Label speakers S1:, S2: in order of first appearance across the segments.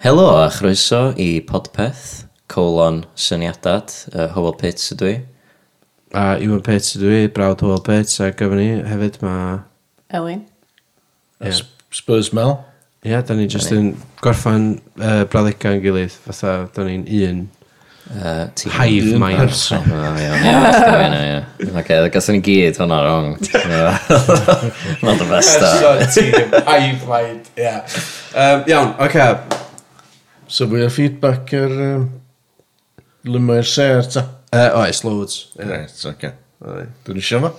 S1: Helo a chroeso i Podpeth, colon syniadad, y Howell Pits ydw i.
S2: A Iwan Pits ydw i, brawd Hwyl Pits, a gyfer ni hefyd mae...
S3: Elin.
S2: Ie,
S4: S- Spurs Mel.
S2: yeah, da ni jyst yn gorffan uh, brawddegau yn gilydd, fatha da ni'n un
S1: Uh, ti-
S2: hive
S4: Un
S2: mind.
S1: O, iawn, ie, allai fi hynna, ie. Ocê, gathon ni gyd hwnna wrong. Not the best start.
S2: Hive mind, ie. Um, iawn, oce. Okay.
S4: So fwy o feedback yr um, lymau'r ser, ta?
S2: Uh, oes, loads.
S4: Reit, oce. Dwi'n eisiau fo?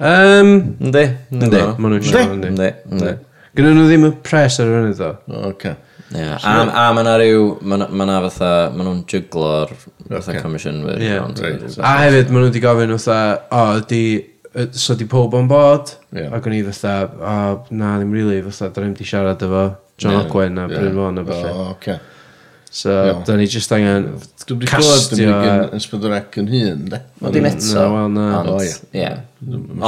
S2: Um,
S1: Yndi,
S2: ynddi, maen nhw'n siarad
S4: Yndi.
S2: ynddi.
S1: Yndi, ynddi.
S2: Gynnu nhw ddim y pres ar y fyny, ddo.
S4: Oce.
S1: Ie, A a ma' na ryw, ma' na- ma' na fatha, ma' nhw'n jyglo'r fatha
S4: Ocê.
S1: commissionwyr.
S2: Ie.
S1: ond-
S4: Reit.
S2: A hefyd, maen nhw wedi gofyn fatha, o, ydi, y- so di pob on bod?
S4: Ie.
S2: Ac o'n i fatha, o, na, ddim really, fatha, da ni'n di siarad efo John Ogwen a Bryn Fon a falle.
S4: Oce.
S2: So,
S4: Iawn.
S2: da ni just angen
S4: Dwi'n wedi clywed yn
S2: castio...
S4: bygyn ysbydwrac yn hun, de?
S1: Ond dim eto.
S2: Na, wel, na.
S1: Ond,
S4: O, ie.
S1: ie.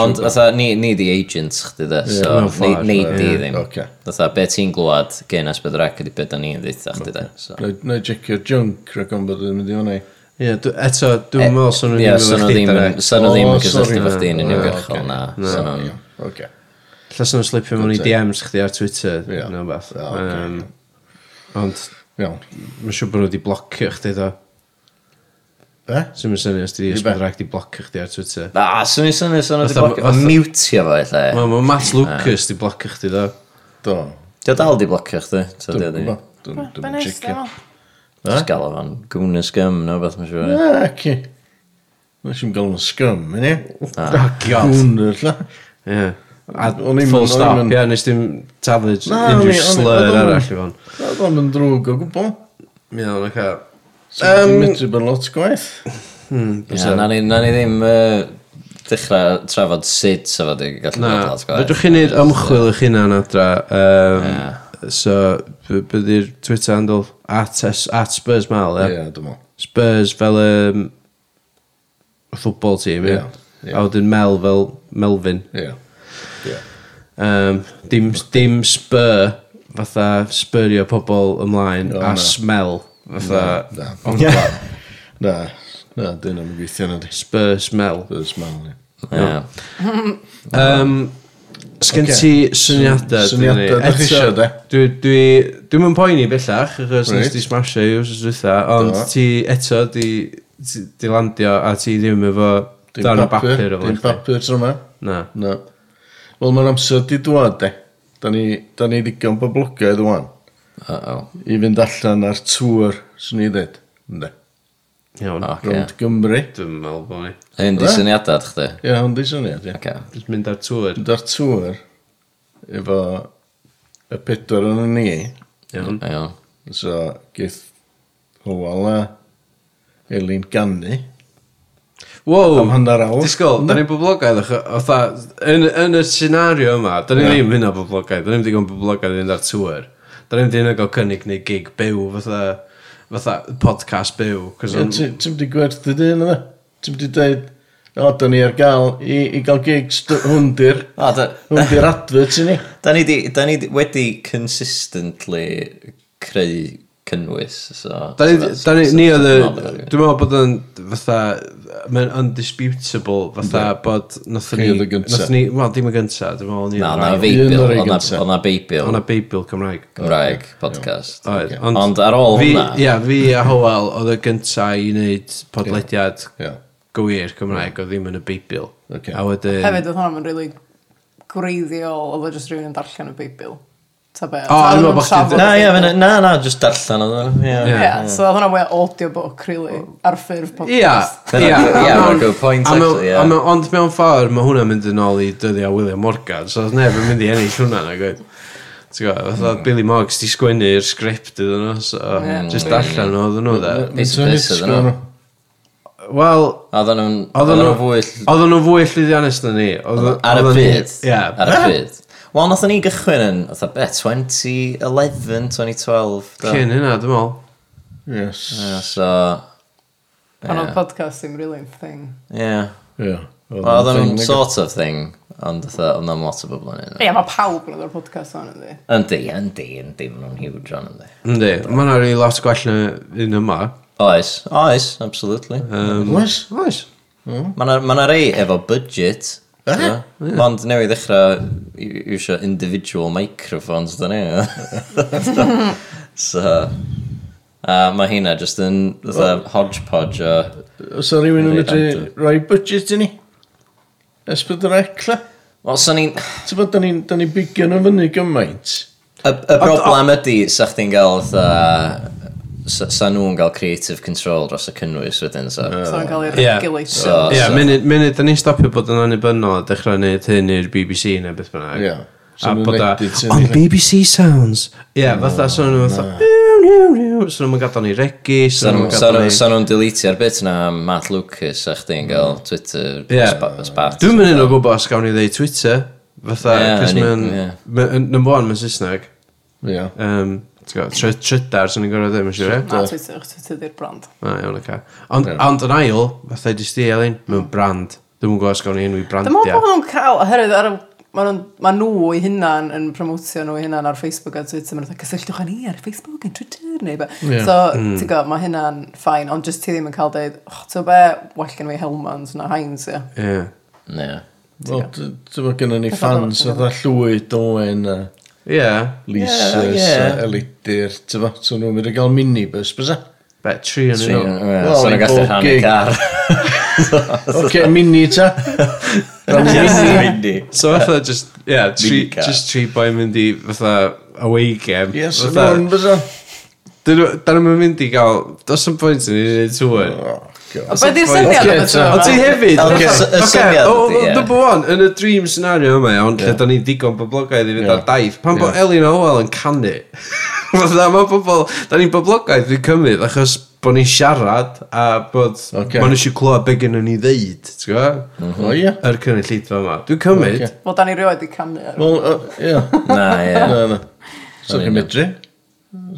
S1: Ond, fatha, ni, ni di agents chdi de, so
S2: mewn ffordd,
S1: ni, ni
S2: ie.
S1: di ddim.
S4: Ocê.
S1: Fatha, be ti'n glwad gen Asbedrac ydi be da ni'n ddeitha chdi de. So.
S4: Na i jecio'r junk rhaid o'n bod yn mynd i hwnna i.
S2: Ie, dw- eto, dwi'n meddwl sôn nhw'n
S1: Ie, so nhw
S2: ddim
S1: ddim
S2: yn
S1: yn-
S2: chdi.
S1: so nhw ddim yn
S4: O, sorry.
S1: cysylltu fo chdi yn
S4: Ie,
S1: uniongyrchol,
S4: ocê.
S1: na.
S4: Na,
S1: So nhw'n-
S4: ie, Oce.
S2: Llas nhw'n slipio mewn i
S4: Good
S2: DMs chdi ar Twitter,
S4: Ie.
S2: neu beth.
S4: Ie, ocê.
S2: Ond,
S4: Iawn.
S2: mae'n siŵr bod nhw wedi blocio chdi, do.
S4: Be?
S2: Swn i'n syni os di
S4: be?
S2: ysbryddrach di blocio chdi ar Twitter.
S1: A, swn i swn i swn i wedi
S2: Fatha-
S1: blocio, o
S2: fatha-
S1: mutio fo lle.
S2: Mae Matt Lucas di blocio chdi, do.
S4: Do.
S1: Dio dal di blocio chdi, so dio
S4: Dwi'n
S1: di.
S4: gwybod. Dwi'n
S3: Mae'n
S4: dwi'n
S3: neis,
S4: jecio.
S1: Just gael o fan gwnnw gym, no, beth mae'n siŵr.
S4: Ac i. Nes i'n gael yn scum, yna?
S2: Oh, god.
S4: Gwnnw'r la.
S2: Ie. A
S4: O'n i'm-
S2: full
S4: o'n
S2: stop,
S4: i'm yn-
S2: ie, nes dim taflu j-
S4: Na, o'n i-
S2: unrhyw
S4: o'n i-
S2: slur
S4: oedd o'n-
S2: arall i fon.
S4: Na, dwi'n mynd drwg o gwbl.
S2: Mi o'n o'ch a...
S4: So, dwi'n mynd i bod lot gwaith.
S1: Ie, Na ni na ni ddim yy, dechrau trafod sut sa fo di gallu
S2: Na,
S1: bod lot gwaith.
S2: fedrwch chi wneud ymchwil eich hunan adra. Um, so, b- byddi'r Twitter handle at, S- at Spurs Mal,
S4: Ie,
S2: ie.
S4: yeah, dwi'n mynd.
S2: Spurs fel um, football team, ie.
S4: Ie, ie.
S2: A wedyn Mel fel Melvin.
S4: Ie. Ie.
S2: Um, dim, dim Spur, fatha spyrio pobl ymlaen,
S4: O,
S2: a
S4: na.
S2: smell, fatha
S4: Na. Na. Na. Na, dyn nhw'n gweithio na di.
S2: Spur smell.
S4: Spurs man. ie.
S1: Ie.
S2: Um, Sgen
S4: Ocê.
S2: ti syniadau?
S4: Syniadau dach chi isio, de?
S2: Dwi, dwi, dwi'n mynd poeni bellach, achos nes
S4: Reit.
S2: di smashio i wrth dwytha, ond
S4: Do.
S2: ti eto di, ti, di landio a ti ddim efo
S4: Dim
S2: darn o bapur o flaen.
S4: Dim papur tro yma.
S2: Na.
S4: Na. Wel, mae'n amser di dwad, de. Da ni, da ni ddigon boblogaidd o'n
S1: Uh-oh.
S4: i fynd allan ar tŵr, swn i ddweud. Ynde.
S2: Iawn.
S1: O. Ocê.
S4: Rwnd Gymru.
S2: Dwi'n meddwl bod ni.
S1: Hyn di
S4: Be?
S1: syniadad chdi.
S4: Ie, hwn di syniad, ie.
S1: Oce.
S2: Dwi'n mynd ar tŵr.
S4: Fynd ar tŵr efo y pedwar yn y ni.
S2: Iawn.
S1: Iawn.
S4: So, geith Hwal a Elin Gannu.
S2: Wow.
S4: Am hanner awr.
S2: Disgol, da ni'n boblogaidd, ach- fatha, yn, yn y senario yma, da ni
S4: Ie.
S2: ddim hynna boblogaidd, da ni'n digon boblogaidd i fynd ar tŵr. Da ni'n digon gael cynnig neu gig byw, fatha, fatha podcast byw. Cos
S4: Ie,
S2: o'n...
S4: Ti ti'n mynd i gwerth dy dyn yna? Ti'n mynd i dweud, o, da ni ar gael i, i gael gigs dy- hwn di'r
S1: O, da...
S4: hwn di'r adfyd sy'n ni.
S1: Da ni, di, da ni di- wedi consistently creu cynnwys, so...
S2: Da ni, da ni, ni oedd y,
S1: y...
S2: dwi'n meddwl bod yn fatha, mae'n undisputable, fatha bod nath ni,
S4: Chi oedd y gynta.
S2: nath ni, wel, dim y gynta, dwi'n meddwl ni
S1: Na,
S2: yn
S1: na
S2: rhaid.
S1: feibil,
S4: Un o'r un
S1: o'na-
S4: gynta.
S1: o'na beibil
S2: O'na Beibl Cymraeg.
S1: Gymraeg podcast.
S2: Oedd,
S4: Ocê.
S1: Ond ar ôl
S2: fi-
S1: hwnna-
S2: Ie, fi a Howell oedd y gynta i wneud podlediad
S4: Ie.
S2: gywir Cymraeg oedd ddim yn y Beibl.
S4: Ocê.
S2: A wedyn...
S3: Hefyd, oedd hwnna'n rili gwreiddiol, oedd o jyst rhywun yn darllen y Beibl. Ta be?
S2: O,
S3: Ta
S2: dwi'n
S3: oedden
S2: meddwl
S3: nhw'n
S2: bo' chdi-
S3: trafod y
S1: Na, ie,
S3: Beibl.
S1: fyna- na, na, just darllen oedd. Ie,
S2: Ie.
S1: ie.
S3: Ie, so oedd hwnna'n we audiobook, really, ar ffurf
S2: Ia,
S3: podcast.
S2: ia.
S1: Dyna- ie,
S2: a mewn-
S1: mae'n good point,
S2: a mewn-
S1: actually, ie.
S2: a mewn- Ond mewn ffordd, mae hwnna'n mynd yn ôl i dyddiau William Morgan, so oedd neb yn mynd i ennill hwnna, na gwyd. Ti'n gwybod, fatha
S4: Hmm.
S2: Billy Moggs di sgwennu'r sgript iddyn nhw, so just darllen nhw, oedden nhw dda.
S1: Piece of
S4: Mae'n
S1: piss
S4: swnio
S1: iddyn nhw.
S4: sgwrn.
S1: Hmm.
S2: Wel,
S1: Oedden nhw'n...
S2: oedden nhw
S1: fwy...
S2: Oedden nhw fwy llyddiannus na ni. Oedden-
S1: Ar y
S2: oedden ni-
S1: byd.
S2: Ie.
S1: Ar y byd. Wel, nath ni gychwyn yn, oedd be, 2011, 2012. do?
S2: Cyn hynna, dwi'n meddwl.
S4: Yes.
S1: Ie, So,
S3: Pan oedd podcast ddim really yn thing.
S1: ie.
S4: Ie.
S1: Oedd
S4: o'n
S1: nhw'n
S4: thing, nag-
S1: sort of thing. Ond fatha, oedd na'n lot o bobl yn un.
S3: Ie, mae pawb yn ymwneud podcast o'n ynddi.
S1: Yndi, yndi, yndi, maen nhw'n huge on yndi.
S2: Yndi, mae yna rili lot gwell na un yma.
S1: Oes, oes, absolutely.
S4: Oes?
S2: Oes.
S1: Mae na, ma na rei efo budget. Eh? Ond newid ddechrau i- iwsio individual microphones, da ni. so, a mae heina just yn fatha hodgepodge o...
S4: Os o rhywun yn
S1: Rhaid
S4: medru
S1: adeg.
S4: rhoi budget i ni? Esbyd yr ecla?
S1: Wel, so ni'n...
S4: Ti'n bod, da ni'n ni bigio nhw fyny gymaint?
S1: Y, y broblem ydy, sa chdi'n gael fatha... Sa, sa nhw'n gael creative control dros y cynnwys wedyn, so...
S3: So yn cael ei
S2: Ie.
S1: So,
S3: regulatio.
S1: Os-
S2: Ie, munud, munud, da ni'n stopio bod yn annibynnol a dechrau gwneud hyn i'r BBC neu beth bynnag.
S4: Ie. So
S2: A
S4: nhw'n
S2: bod a,
S4: edit yn
S2: on
S4: unig.
S2: BBC Sounds. Ie, fatha, so nhw'n fatha, niw, niw, niw, so nhw'n gadael ni regu, so
S1: Sa
S2: nhw'n
S1: nhw'n
S2: gadael ni...
S1: sa nhw'n deletio'r bit na am Matt Lucas a chdi'n gael Twitter
S2: Ie.
S1: spa- spat.
S2: Dwi'n mynd yn o gwybod os gawn ni ddeud Twitter, fatha,
S1: Ie,
S2: cys
S1: ni-
S2: mae'n,
S1: ie.
S2: mae'n- number one, mae'n Saesneg,
S4: Ie.
S2: um, ti'n gwybod, try- trydar, so ni'n gorau ddim, yn siŵr, ie?
S3: Na, Twitter, Twitter di'r brand.
S2: Na, iawn, oce. Ond, ond yn ail, fatha i di sti, Elin, mae'n brand. Dwi'n gwybod os gawn ni enw i
S3: Dwi'n meddwl bod
S2: brandiau.
S3: nhw'n cael, oherwydd ar y... Mae nhw, ma nhw eu hunan yn promotio nhw eu hunan ar Facebook a Twitter. Mae'n dweud, cysylltwch â ni ar Facebook yn Twitter neu be.
S4: Ie.
S3: So,
S2: Mm.
S3: ti'n gwybod, mae hynna'n ffain, ond just ti ddim yn cael dweud, och, ti'n be, well gen fi Helmans na Heinz, ie.
S2: Ie.
S1: Ie.
S4: Wel, ti'n bod gynnu ni
S3: Pethau
S4: fans
S3: fel-
S4: oedd a llwyd Owen a
S2: Ie.
S4: Lisa
S1: Ie,
S4: a
S1: ie.
S4: Elidir, ti'n bod, so nhw'n mynd i gael minibus, bysa?
S2: Be, tri yn
S1: Tri-
S2: nhw.
S1: ie,
S4: Wel,
S1: So nhw'n
S4: i
S1: gallu
S4: bob
S1: rhannu
S4: gig.
S1: car.
S4: Oce, mini ta?
S1: Mini.
S2: So fatha just, ie, yeah, tri,
S1: Minicar.
S2: just tri boi mynd i fatha away game.
S4: Yes,
S2: Fatha,
S4: nhw'n bysa?
S2: dyn nhw- dyn nhw'n mynd i gael, dos yn pwynt yn i wneud tŵr.
S4: Oh, God.
S3: Be di'r
S4: Ocê,
S3: syniad am y
S4: so-
S3: tro?
S2: O ti hefyd?
S1: Ocê,
S2: fatha-
S1: so- y
S2: ocê,
S1: syniad
S2: o-
S1: ydi,
S2: o-
S1: ie.
S2: Number one, yn y dream scenario yma, iawn, lle da ni digon boblogaidd i fynd ar daith, pan bod Elin Owell yn canu. Fytha, mae pobl, da ni'n boblogaidd fi'n cymryd, achos bod ni'n siarad a bod
S4: Ocê.
S2: maen nhw eisiau clywed be gen ni ddeud, ti'n gwybod?
S1: Mhm.
S4: O, ie.
S2: Yr cynulleidfa yma. Dwi'n cymryd,
S4: Ocê.
S3: Wel, da ni rioed i canu ar.
S4: Wel, o, ie.
S1: Na, ie.
S4: Na, na. Sorry, Medri.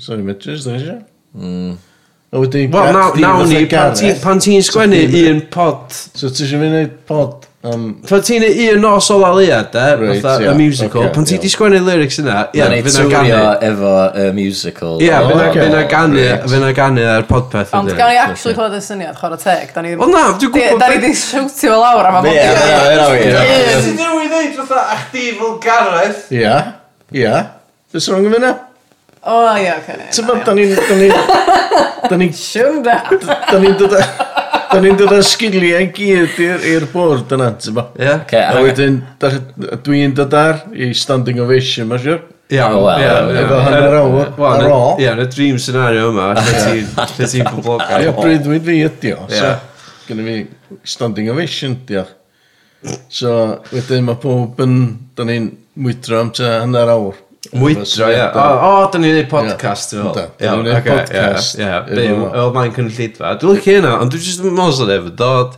S4: Sorry, Medri, os da chi eisiau. Mm. A wedi...
S2: Wel, naw- nawn ni, pan ti- pan ti'n sgwennu un pod,
S4: So, ti eisiau fi wneud pod am...
S2: pan ti'n neud un nos o laliad, e,
S4: Reit,
S2: fatha
S4: ie.
S2: y musical,
S4: Ocê,
S2: pan ti
S4: ie.
S2: di sgwennu lyrics yna, ie,
S1: Na ni
S2: fydd na'n
S1: twrio
S2: canu.
S1: efo y musical.
S2: Ie,
S1: O,
S2: fe na-
S4: ocê.
S2: fe na ganu,
S4: Reit.
S2: fe na ganu ar podpeth
S3: Ond gan i actually clywed y syniad, chwarae teg, da ni...
S2: Wel na, dwi'n gwybod...
S3: Da ni di siwtio fel lawr am y
S1: Ie, ie, ie, ie, ie.
S2: Ti'n newydd ddeud fatha, a chdi fel Gareth?
S4: Ia, ia. Fes rong yn fyna?
S3: O, ie, oce.
S4: Ti'n bod, da ni'n... Da ni'n... Da ni'n...
S3: Siwn da.
S4: Da ni'n dod â... Da ni'n dod â sgiliau i gyd i'r- i'r bwrdd yna, ti'n bod?
S2: Ie.
S1: Oce,
S4: A wedyn, da- dwi'n dod ar i standing ovation, ma siwr.
S2: Ie,
S1: O, wel,
S2: ie,
S1: wel,
S2: ie.
S4: efo hanner awr
S2: Wel,
S4: ar
S2: yn y-
S4: ôl.
S2: Ie, yn y dream scenario yma, lle ti- lle ti'n
S4: Ia,
S2: boblogaidd.
S4: breuddwyd fi ydi o. So,
S2: Ie.
S4: gynnu fi standing ovation, diolch. So, wedyn mae pob yn... Da ni'n mwydro am ta hanner awr.
S2: Mwydro, ie. O, o, da ni'n gwneud podcast, dwi'n
S4: Yndan,
S2: meddwl.
S4: da
S2: Ie,
S4: ni'n neud
S2: ocê, ie,
S4: podcast
S2: Ie,
S4: efo-
S2: byw, fel mae'n cynllidfa. Dwi'n licio hynna, ond dwi'n just yn meddwl sef yn dod.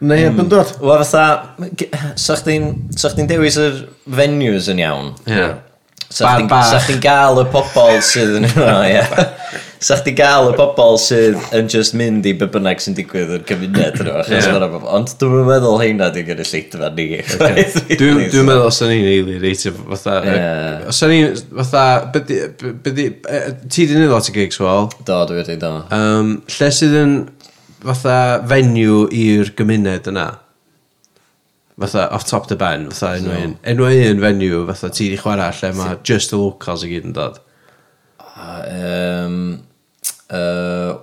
S4: Neu
S2: Mm.
S4: heb yn dod.
S1: Wel, fatha, g- sa chdi'n sa chdi'n dewis yr venues yn iawn.
S2: Ie.
S1: Sa
S2: Bar
S1: chdi'n-
S2: bach.
S1: sa chdi'n gael y pobol sydd yn... O, ie. Sa chdi'n gael y pobol sydd yn just mynd i be bynnag sy'n digwydd yn cymuned yn
S2: Ie.
S1: efo. Ond dwi'n meddwl heina di gynnu lleidfa ni.
S2: Dwi'n dwi'n meddwl os o'n i'n eili reitio fatha...
S1: Ie.
S2: Os o'n i'n fatha... be' di- be' di- e- Ti di neud lot o gigs, wel?
S1: Do, dwi wedi do.
S2: Um, lle sydd yn fatha venue i'r gymuned yna? Fatha off top the ben, fatha enw un. Enw un venue, fatha ti di chwarae lle mae just the locals i gyd yn dod.
S1: Um, uh,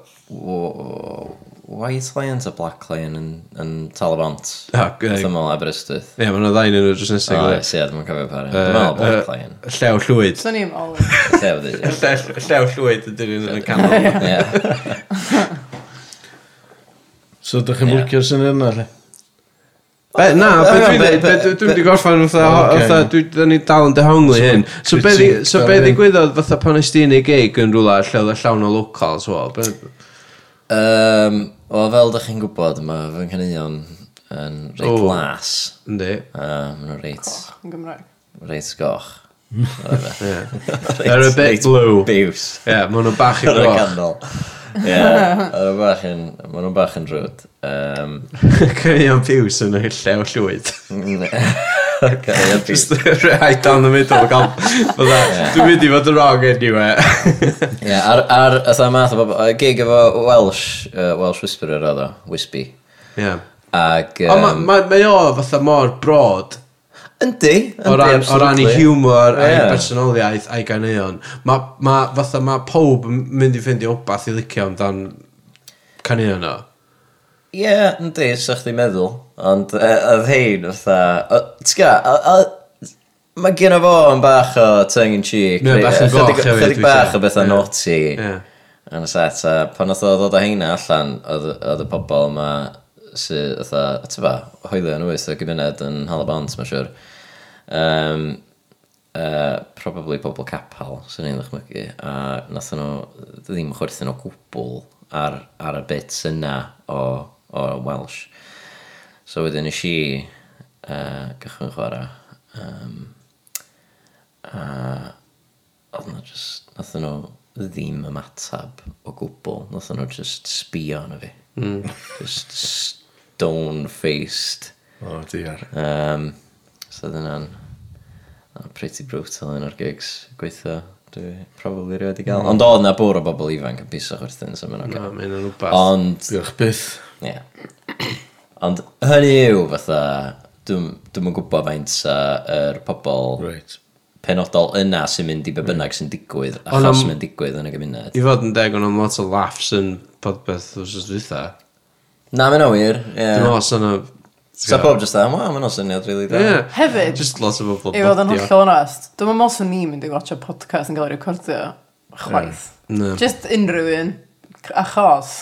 S1: White Lion a Black Lion yn, yn Talabant.
S2: Ah, g-
S1: Thymol Aberystwyth.
S2: Ie, mae'n ddain yn y drws
S1: O,
S2: nesaf.
S1: yes, ie, dwi'n cofio pari. Dwi'n meddwl Black Lion.
S2: Llew llwyd.
S3: Swn i'n ol.
S1: Llew ddi.
S2: Llew llew llwyd ydy'r un yn y canol.
S1: Ie.
S4: So, da chi'n
S1: Ie.
S4: mwcio'r syniad yna, lle?
S2: Be, na,
S1: Hang
S2: be
S1: on,
S2: dwi'n dweud,
S1: be-
S2: be
S1: be-
S2: dwi- dwi'n wedi gorffan fatha,
S4: Oh,
S2: ho-
S4: okay.
S2: fatha, dwi- dwi ni dal yn dehongli hyn. So be di- so be
S4: Critique, fel
S2: ddigwyddodd fatha pan ys ti'n ei gig yn rhywle lle oedd y llawn o locals, wel, be-
S1: Um, o, fel ydych chi'n gwybod, mae fy nghynion yn reit
S2: O.
S1: glas.
S2: yndi.
S1: Uh, Mae nhw'n reit,
S3: Yn Gymraeg.
S1: reit goch.
S2: They're a bit blue.
S1: Biws.
S2: Ie, ma' nhw'n bach i
S1: Yn y
S2: gloch.
S1: canol. Ie, maen nhw'n bach yn, maen nhw'n bach yn drwyd. Um,
S2: Cynion piws yn y llew llwyd.
S1: Oce, ia, fi.
S2: Just right down the middle o gael. Fydda, Dwi'n mynd i fod yn wrong anyway.
S1: Ie, ar, ar y dda math o bobl, y gig efo Welsh, uh, Welsh Whisperer oedd o, Wispy.
S2: Yeah.
S1: Ac...
S2: Ond mae
S1: yym,
S2: ma, mae o fatha mor broad
S1: Yndi, yndi,
S2: o ran, o ran i
S1: absolutely.
S2: humor a'i
S1: Ie.
S2: personoliaeth a'i ganeuon. Mae ma, fatha mae pob yn mynd i fynd i obath i licio amdan caneuon o.
S1: Ie, yeah, yndi, sa chdi meddwl. Ond yy, oedd hein, fatha... Ti'n ga, mae gen o fo yn bach o tongue in cheek.
S2: Mae o'n bach yn goch hefyd, weithiau.
S1: Chydig bach o bethau
S2: Ie.
S1: naughty.
S2: Ie.
S1: Yn y set, a pan oedd o ddod o heina allan, oedd oedd y pobol yma sydd, oedd o, ti'n ba, hoeddi yn wyth o gymuned yn Halabont, mae'n siwr. Um, uh, probably pobl capal, sy'n ni'n ddychmygu, a nath nhw ddim chwerthin o gwbl ar, ar y bits yna o, o Welsh. So wedyn nes i uh, gychwyn chwarae. Um, a oedd nhw just, nath nhw ddim ymatab o gwbl, nath nhw just sbio arno fi. Mm. Just stone-faced.
S4: O, diar.
S1: Um, so oedd hwnna'n hwnna'n pretty brutal un o'r gigs gweithio. Dwi probably rhywbeth i gael. Ond oedd na bwr o bobl ifanc yn piso chwerthin, so mae'n oce.
S2: Mae hynna'n rhywbeth.
S1: Ond
S4: Diolch byth.
S1: Ie. Ond hynny yw fatha, dwi'n yn gwybod faint uh, sa'r pobl
S4: Right.
S1: penodol yna sy'n mynd i be bynnag sy'n digwydd,
S2: Ond
S1: achos
S2: am-
S1: mae'n digwydd yn y gymuned.
S2: I fod yn deg, ond lot o laughs yn podbeth wrth oes dwytha.
S1: Na, mae'n awyr.
S2: Dwi'n meddwl sy'n y...
S1: Sa pob jyst dda, waw, mae'n o syniad rili dda.
S2: Ie.
S3: Hefyd-
S2: Just lot of bobl.
S3: I fod yn
S2: bodio.
S3: holl onest, dwi'n meddwl sy'n ni'n mynd i watcha podcast yn cael ei recordio chwaith.
S2: Na.
S3: Just unrhyw un, c- achos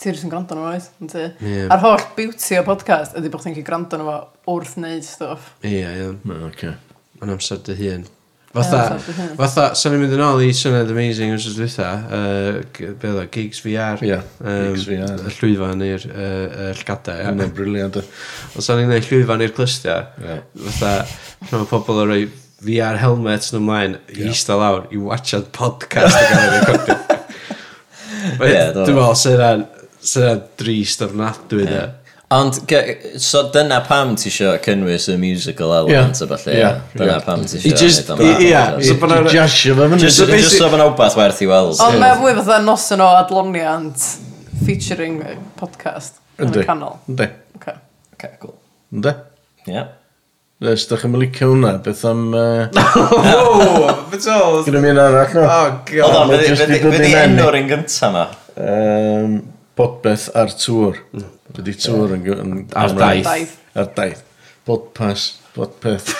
S3: ti'n rhywbeth yn gwrando nhw oes, yn ti?
S2: Ie.
S3: A'r holl beauty o podcast ydy bod chi'n cael gwrando nhw wrth wneud stuff.
S2: Ie, ie.
S4: Okay.
S2: Mae'n amser dy hun.
S3: Ie,
S2: Fatha,
S3: amser dy hun.
S2: fatha, sa'n ni'n mynd yn ôl i Syniad Amazing os ydw eitha, uh, be oedd o, Gigs VR.
S4: Ie,
S2: yym,
S4: Gigs VR.
S2: Y llwyfan i'r uh, llgada,
S4: Yn
S2: ie.
S4: o'n briliant.
S2: Os sa'n ni'n gwneud llwyfan i'r clystiau,
S4: Ie.
S2: fatha, mae pobl yn rhoi VR helmets yn ymlaen, i eista lawr, i watchad podcast o gael ei recordio. Wel,
S1: Ie, do.
S2: Dwi'n meddwl, sy'n rhan, sy'n rhan drist ofnadwy, ie.
S1: Ond, ge- so dyna pam ti isio cynnwys y musical element
S4: Ie.
S1: o falle.
S4: Ie,
S1: ie? Dyna
S4: ie.
S1: pam ti
S2: I
S1: isio.
S2: just-
S1: neud o'n fath o
S2: ie,
S1: bobl.
S2: So
S4: So
S2: bod 'na-
S4: bod yna... Jasio fe fyny.
S1: Just, just so fan wbath werth i weld.
S3: Ond mae fwy fatha noson o adloniant featuring podcast yn y
S4: Yndi.
S3: canol.
S4: Yndi.
S3: Okay.
S1: Okay, cool.
S4: Yndi.
S1: Ie.
S4: Nes, da chi'n mynd i hwnna. Beth am... yy,
S2: Wow, beth oedd?
S4: Gyda mi yn arall no.
S2: Oh,
S1: Oedd
S2: god.
S1: o'n,
S4: ma'
S1: fe
S4: jyst 'di dod
S1: di
S4: i mewn i-
S1: enw'r un gyntaf ma.
S4: Um, Podbeth ar tŵr. Ydy tŵr yn... yn
S2: Ar
S4: Gymraeg.
S2: daith.
S3: Daith.
S4: Ar daith. Podpass. Podpeth.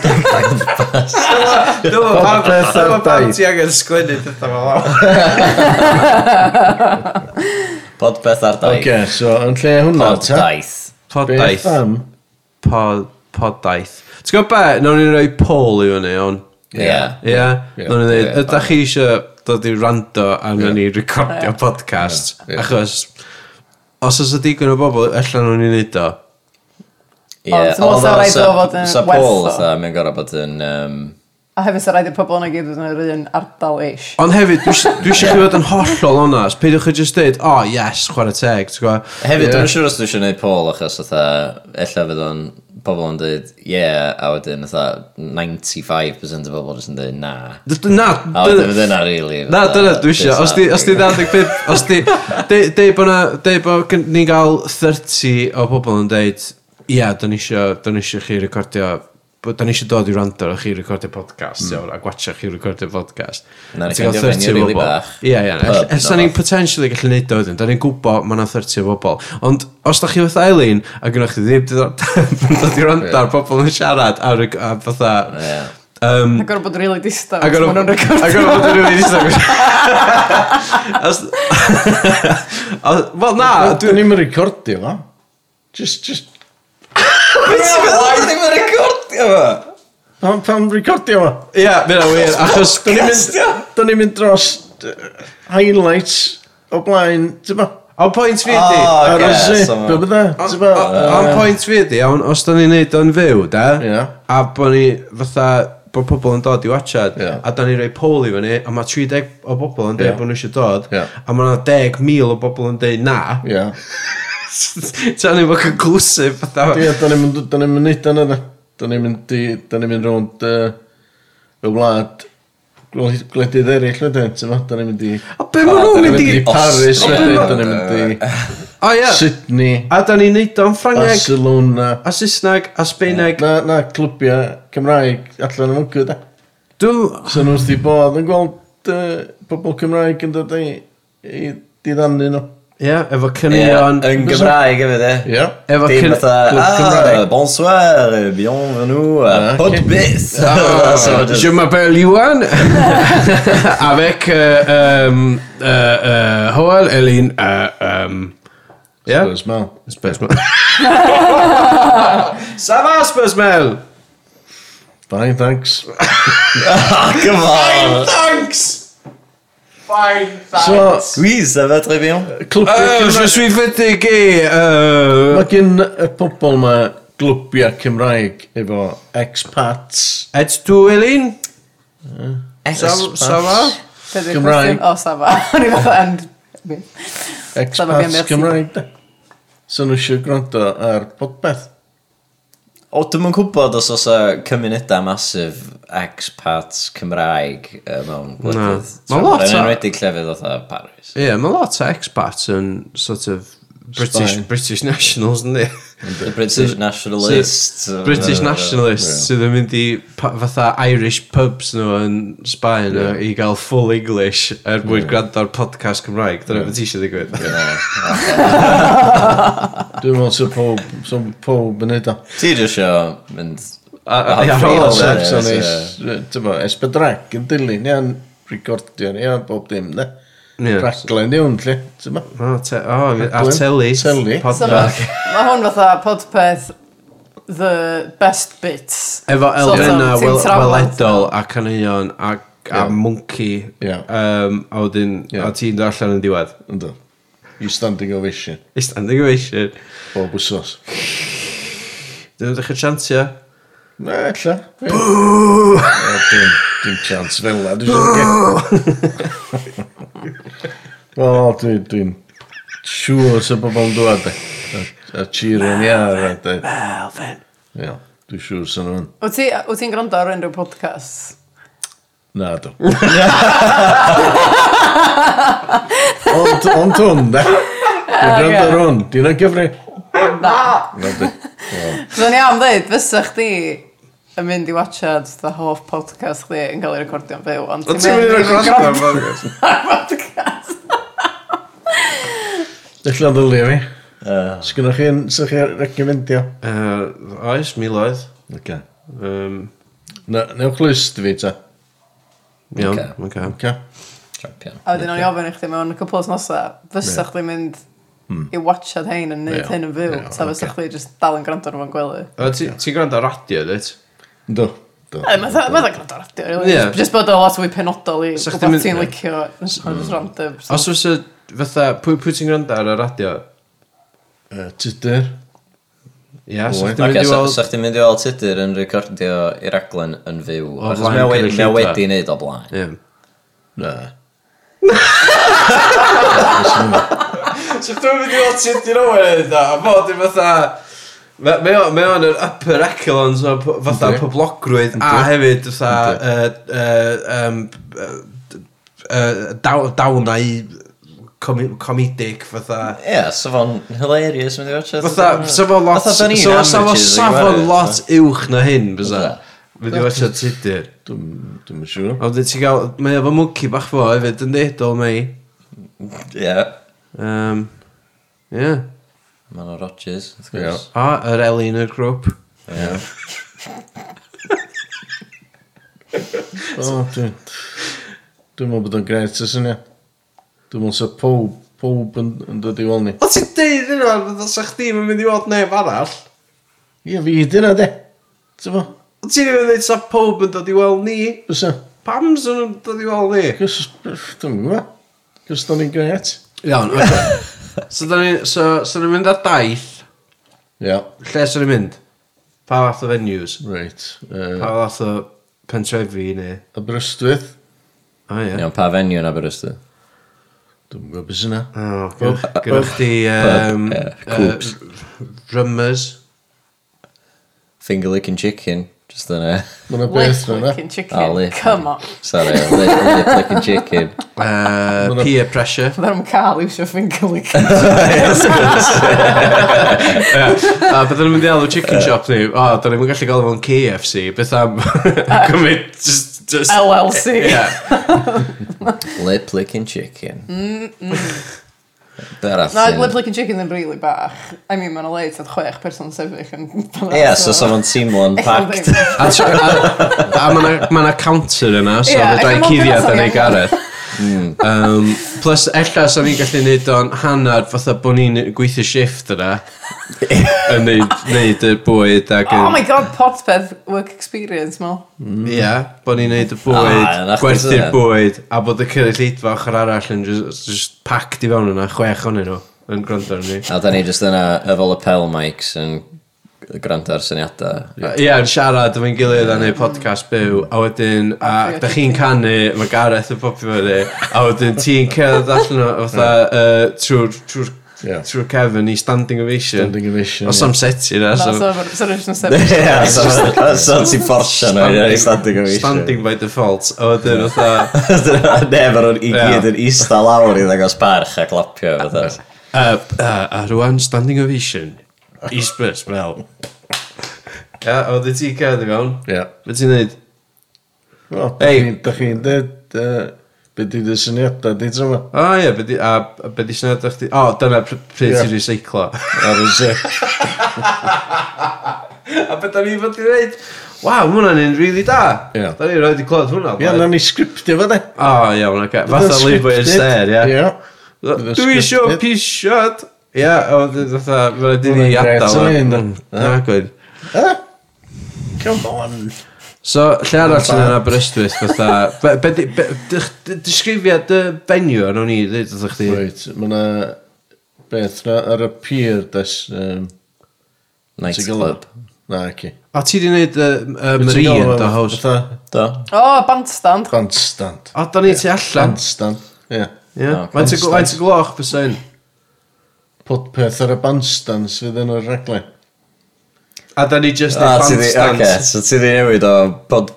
S2: Dyma
S4: pam- Popeth ar dyma pam daith. ti
S2: angen sgwennu pethau fel awr.
S1: Podbeth ar daith.
S4: Oce, so yn lle hwnna
S1: Pod
S4: ta.
S1: daith.
S2: Poddaeth.
S4: Beth am...
S2: Pod, poddaith. T'w gwybod be? Nawn ni'n rhoi poll i fyny, iawn.
S1: Ie.
S2: Ie?
S4: Ie.
S2: Nawn ni'n dweud,
S1: Ie.
S2: ydych chi eisiau dod i rando a nawn ni recordio podcast?
S4: Ie. Ie.
S2: Achos, os oes y digon o bobl, allan nhw'n i wneud o.
S1: Ie,
S3: Ond dwi'n meddwl
S1: although
S3: sa raid
S1: sa-
S3: o fod yn
S1: Sa Paul,
S3: werth o.
S1: fatha, mae'n gorau bod yn... Um,
S3: A hefyd sy'n rhaid i'r pobl yna gyd yn yr un ardal eich.
S2: Ond hefyd, dwi isi- dwi eisiau chi fod yn hollol onast. Peidiwch chi just dweud, oh yes, chwarae teg, ti'n gwybod?
S1: hefyd,
S4: Ie.
S1: dwi'n siŵr os dwi eisiau gwneud Paul, achos fatha, ella fydd o'n pobl yn dweud, yeah, a wedyn, fatha, 95% o bobl jyst yn dweud, na.
S2: Na,
S1: A
S2: dyna-
S1: wedyn fydd yna, really.
S2: Na,
S1: fatha,
S2: dyna dwi eisiau. Os di,
S1: disheartening.
S2: os di 95, os di... de- Deud bod na, deud bod gyn- ni'n gael 30 o bobl yn deud, ia, dyn eisiau, dyn eisiau chi recordio, bod dyn eisiau dod i rando a chi recordio podcast, mm. a gwacha chi recordio podcast.
S1: Na, ni
S2: Ti'n
S1: ffeindio
S2: gael 30
S1: venue
S2: o
S1: rili
S2: bobl.
S1: bach.
S2: Ie, ie. ell-
S1: Pub, neu
S2: Ella ni'n
S1: rwbath.
S2: potentially gallu neud o wedyn, da ni'n gwybod mae yna 30 o bobl. Ond os da chi fatha Eileen, a gynnwch chi ddim diddordeb yn dod i rando ar bobl yn siarad, a rec- a fatha...
S1: Ie.
S2: Um,
S3: Ac gorfod bod really distant.
S2: Ac o'n
S3: ma' nhw'n recordio.
S2: Ac o'n bod yn rhywun eistedd. Os... os- Wel na,
S4: Dwi'n ni'n recordio fo. Just, just...
S1: Oedd ddim yn recordio fo!
S4: Pam, pam recordio fo?
S2: ie, mynd o wir, achos...
S4: Dwi'n ni'n mynd... Dwi'n ni'n mynd dros... yy, Highlights o blaen, ti'n ba?
S2: O'n pwynt fi
S1: O,
S2: ydi...
S4: Ar y
S1: Ocê,
S4: zip,
S1: so ma-
S4: be bydda? Ah, Ti'n ba?
S2: O'n pwynt fi ydi, iawn, os da ni'n neud o'n fyw, da?
S4: Ie.
S2: A bod ni, fatha, bod pobl yn dod i watchad,
S4: Ie.
S2: a da ni'n rhoi poll i fyny, a mae 30 o bobl yn
S4: Ie.
S2: dweud bod nhw eisiau dod,
S4: Ie.
S2: a mae 10,000 o bobl yn dweud na.
S4: Ie.
S2: Ta ni'n fawr conclusive, fatha...
S4: Ie, da ni'n mynd, da ni'n mynd nid yna da. Da ni'n mynd, i- 'dan ni'n mynd rownd uh, y wlad gwle- gwledydd eraill wedyn, ti'n ma? Da ni'n mynd i...
S2: O, be maen nhw'n
S4: Da Ah, ni'n
S2: mynd i...
S4: mynd i Paris
S1: O,
S4: wedyn,
S2: be-
S4: da ni'n mynd i
S2: O, ie.
S4: Sydney,
S2: A da ni'n neud o'n Ffrangeg,
S4: Barcelona.
S2: a Saesneg, a Sbeineg.
S4: Na, na, clwbiau Cymraeg allan yn mwgw, da.
S2: Dwi'n...
S4: So nhw wrth i bod yn gweld uh, pobl Cymraeg yn dod i, i diddannu nhw.
S2: Ie, efo
S1: Ie,
S2: cynnion.
S1: Yn Gymraeg hefyd, e?
S4: Ie.
S2: Efo
S1: Dim
S2: cyn-
S1: fatha,
S4: clwb
S1: ah,
S4: Cymraeg."
S1: bonsoir, bienvenue,
S4: Ah,
S1: a pod
S4: ocê.
S1: bis. So just-
S2: Ah. Je m'appelle Iwan Avec euh, um, uh, uh, Hoel Elin uh, um,
S4: Yeah.
S2: yeah? Spursmel Ça va Spursmel
S4: Fine, thanks.
S1: Ah, come on.
S2: Thanks Fine
S4: So,
S1: Oui, ça va très bien.
S4: clwbiau
S2: Euh, Je
S4: Cymraeg...
S2: suis fatigué euh,
S4: Mae gen y pobl ma glwbiau Cymraeg efo expats.
S2: Ets tu Elin Ça,
S1: Expats.
S2: ça va
S4: Cymraeg.
S3: Cymraeg. O, safa. O'n i fatha yn... Fi. Dyma fi,
S4: Expats
S3: merci.
S4: Cymraeg, da. So nhw eisiau gwrando ar podbeth.
S1: O, dwi'm yn gwybod os oes cymunedau masif expats Cymraeg yy, mewn gwledydd.
S2: Ma' lot
S1: Yn
S2: o-
S1: enwedig llefydd fatha Paris.
S2: Ie, yeah, mae lot o expats yn sort of British,
S4: Sbaen.
S2: British nationals, ynddi?
S1: The British Nationalists.
S2: British nationalists sydd yn mynd i pa- fatha Irish pubs nhw yn Sbaen yeah. i gael full English er mwyn gwrando'r podcast Cymraeg. Dyna beth eisiau ddigwydd.
S4: Dwi'n meddwl sy'n pob, sy'n pob yn edo.
S1: Ti jyst isio mynd...
S2: A- a-
S1: a-
S2: ia,
S1: feel
S2: fel Ie,
S1: it,
S4: Sex o'n
S1: ie.
S4: eis, esbydrac yn dilyn, ia'n recordio, ia'n bob dim, da.
S2: Ie.
S4: Raglen iawn, lle, ti'n ma?
S2: O, Oh, te, o, a
S4: Rhaglen.
S2: teli.
S4: Teli.
S3: So,
S2: Podfa.
S3: ma- Mae hwn fatha podpeth the best bits.
S2: Efo
S3: So, so,
S2: elfenna
S3: ti'n
S2: wel-
S3: trafod-
S2: weledol a caneuon a, a monkey.
S4: Ie.
S2: Um, a wedyn,
S4: Ie.
S2: a ti'n dod allan yn diwedd.
S4: Ynddo. You standing ovation,
S2: I standing ovation.
S4: bob wsos.
S2: Dwi'n dechrau chantio.
S4: Na, ella. ie. O, Dim, dim chance fel la, dwi'n siarad. Wel, dwi- dwi'n siŵr sy'n bobl yn dŵad, e. a cheerio ni ar, a dweud.
S2: Elfen.
S4: Ie, dwi'n siŵr sy'n nhw'n.
S3: Wyt ti- wyt ti'n gwrando ar unrhyw podcast?
S4: Na, do. Ond, ond hwn, da. Dwi'n gwrando ar hwn. Di'n o'n gyfri.
S3: Na.
S4: Na, di.
S3: Fyddwn i am ddeud, fysa chdi yn mynd i watchad the hoff podcast chdi yn cael ei recordio'n fyw. Ond
S2: O, ti'n mynd i'r
S3: gwrando
S2: glasgow?
S3: ar podcast.
S4: Dillio ddylio fi. Sgynnoch chi'n, sa'ch chi'n recomendio?
S2: Yy, Oes, miloedd.
S4: Oce.
S2: Um,
S4: Na, newch list fi, ta.
S2: iawn,
S1: Ocê.
S2: okay. okay.
S4: Oce.
S1: Champion.
S3: A wedyn o'n i ofyn i chdi mewn cwpl os nosa, fysa chdi mynd
S2: Hmm.
S3: i watchad hein yn
S4: Ie.
S3: neud hyn yn fyw.
S4: Ie,
S3: Ta fysa
S4: ocê.
S3: chdi just dal yn gwrando ar fo'n gwely.
S2: Ti'n gwrando ar radio, dweud?
S4: Do. Do.
S3: Mae dda gwrando ar radio, really.
S2: Ie.
S3: Just- Just bod o lot fwy penodol i
S2: Fysa chdi'n
S3: gwybod
S2: mynd-
S3: ti'n licio yn
S4: Mm.
S3: just random. So-
S2: Os fysa, fatha, pwy, pwy ti'n gwrando ar y radio?
S4: Yy, Tudur.
S2: Ia, yeah, so
S4: Oi.
S2: chdi'n mynd
S1: Oce,
S2: i
S1: so so
S2: weld...
S1: chdi'n mynd i weld tudur yn recordio i raglen yn fyw.
S2: O
S1: Achos
S2: flaen
S1: mae o we-
S2: cynulleidfa.
S1: mae o wedi neud o blaen.
S2: Ie.
S4: Na.
S2: So dwi'n mynd i weld sydd i'n owen dda, a bod i fatha... Mae mae o- mae o'n yr upper echelons o p- fatha
S4: Yndi.
S2: poblogrwydd a
S4: Yndi.
S2: hefyd fatha yy, yy, yym, yy, yy, daw- dawnau comi- comedic fatha...
S1: Ie, so fo'n hilarious mynd i watcha.
S2: Fatha, sa fo lot...
S1: Fatha,
S2: Sa
S1: dan ni'n
S2: fo- sa fo
S1: amateurs i
S2: sa fo
S1: gwared,
S2: lot uwch na hyn, bysa.
S1: Fatha.
S2: Fydd i watcha tudur.
S4: Dwi'n dwi'n yn siŵr.
S2: A wedi ti gael... Mae efo mwci bach fo hefyd, yn ddeudol mei.
S1: Ie.
S2: Um, yeah.
S1: Mae nhw Rodgers, wrth
S4: Ie.
S1: gwrs.
S2: A, yr Eli yn y grŵp.
S4: O, dwi'n... Dwi'n meddwl bod o'n gret y syniad. Dwi'n meddwl sy'n pob, pob yn yn dod i weld ni.
S2: O ti'n deud yna, fydda sa chdi yn mynd i weld neb arall.
S4: Ie, fi dyna, de. Ti'n meddwl?
S2: O ti'n mynd i ddeud sa pob yn dod i weld ni.
S4: Bysa?
S2: Pam sy'n nhw'n dod i weld ni?
S4: Cys, dwi'n gwybod. Cys do'n i'n gret.
S2: Iawn, oce. so da ni, so, so ni'n mynd ar daith.
S4: Ia.
S2: Lle sy'n ni'n mynd? Pa fath o venues?
S4: Reit. Uh,
S2: Pa fath o pentrefi neu...
S4: Aberystwyth.
S2: O ie.
S1: Iawn, pa venue yn Aberystwyth?
S4: Dwi'n gwybod beth yna.
S2: O, gynna- Gynna chdi um,
S1: Pub, ie, cwbs.
S2: uh, drummers
S1: finger licking chicken, just yn y...
S4: Mae'n beth
S3: Lick
S4: yna.
S3: licking chicken.
S1: Ah, lip.
S3: Come on.
S1: Sorry, lip, lip licking chicken.
S2: Uh, peer pressure.
S3: Fydda'n nhw'n cael iwsio finger licking.
S2: A beth yn mynd i alw chicken shop ni? O, da ni'n gallu gael fo'n KFC. Beth am cymryd just... just
S3: LLC.
S2: Yeah.
S1: Lip licking chicken. Mm, mm. Berall.
S3: Na, Mm-hmm. lip licking chicken yn really bach. I mean, mae'n leit at chwech person sefyll yn...
S1: Ie, so sa fo'n teimlo'n packed.
S2: A, tr- a, a mae yna ma 'na counter yna, so
S3: Ie,
S2: yeah,
S3: ella
S2: fydda i
S3: ma'n
S2: cuddiad
S3: person
S2: yn ei
S3: iawn.
S2: gareth. Um, plus, ella, sa ni'n gallu neud o'n hanner, fatha bod ni'n gweithio shift yna, yn neud, neud y bwyd ac yn...
S3: Oh my god, podpeth work experience, mo.
S2: Ie, bod ni'n neud y
S1: Ah, yn
S2: bwyd,
S1: achos
S2: gwerthu'r
S1: hynna.
S2: bwyd, a bod y cynulleidfa ochr arall yn just, just packed i fewn yna, chwech o'n nhw, yn gwrando arnyn ni.
S1: A da ni just yna efo lapel mics yn gwrando ar syniadau.
S2: Ie, yn siarad efo'n gilydd a neud podcast byw, a wedyn, a da chi'n canu, mae Gareth yn popio fyny, a wedyn ti'n cerdd allan o, fatha, yy, trwy'r trwy'r
S4: Ie.
S2: trwy'r cefn i standing ovation.
S4: Standing ovation,
S2: Os am seti na,
S3: Na,
S2: so...
S3: so, so rydych chi'n sefyll.
S1: so ti'n fforsio nhw i standing ovation.
S2: Standing by default, a wedyn, fatha,
S1: Nef ar i gyd
S2: Ie.
S1: yn eista lawr i ddangos barch a clapio fatha.
S2: a, a, a rwan standing ovation, East Burst, wel. Ie, a wedyn ti'n cerdd i fewn,
S4: Ie.
S2: beth ti'n neud?
S4: Wel,
S2: Ei.
S4: da chi'n dweud beth ydy'r syniadau di tro yma.
S2: O ie, be di- a a be di syniad o'ch di... O, dyna pr- pryd
S4: Ie.
S2: ti'n recyclo.
S4: Ar y se.
S2: A beth da ni fod i dweud? Waw, mae hwnna'n un rili da.
S4: Ie.
S2: Da ni roed i clywed hwnna.
S4: Ie,
S2: blaen.
S4: na ni sgriptio fo de.
S2: O, iawn, oce. Fatha
S4: Fydd o'n
S2: Leave It Instead, ie.
S4: Ie. Fydd o'n
S2: Dwi isio
S4: scripted.
S2: pisiad. Ie, o, d- fatha, mae rhaid i ni
S4: Hwnna'n grêt,
S2: adael.
S4: hwnna'n
S2: o.
S4: un,
S2: Na, gwyd.
S4: Come on.
S2: So, lle arall yn yna Aberystwyth, fatha... be- be di- be- dych- d- Disgrifiad y venue, o'n i, dweud, ydych chdi.
S4: Reit, mae na beth na ar y pier des. yym,
S1: Nightclub.
S4: Na, ci.
S2: O, ti di wneud y y Marine, do, host.
S4: Fatha
S1: Do.
S3: O, Oh, bandstand.
S4: bandstand.
S2: O, da ni ti allan.
S4: Bandstand. Ie.
S2: Ie.
S1: O,
S2: Mae'n ty gloch, bysyn.
S4: Podpeth ar y bandstand sydd yn o'r reglau.
S2: A da ni just
S1: A
S2: a
S1: ti di,
S2: bandstand.
S1: Ah, oce, so ti di newid o pod-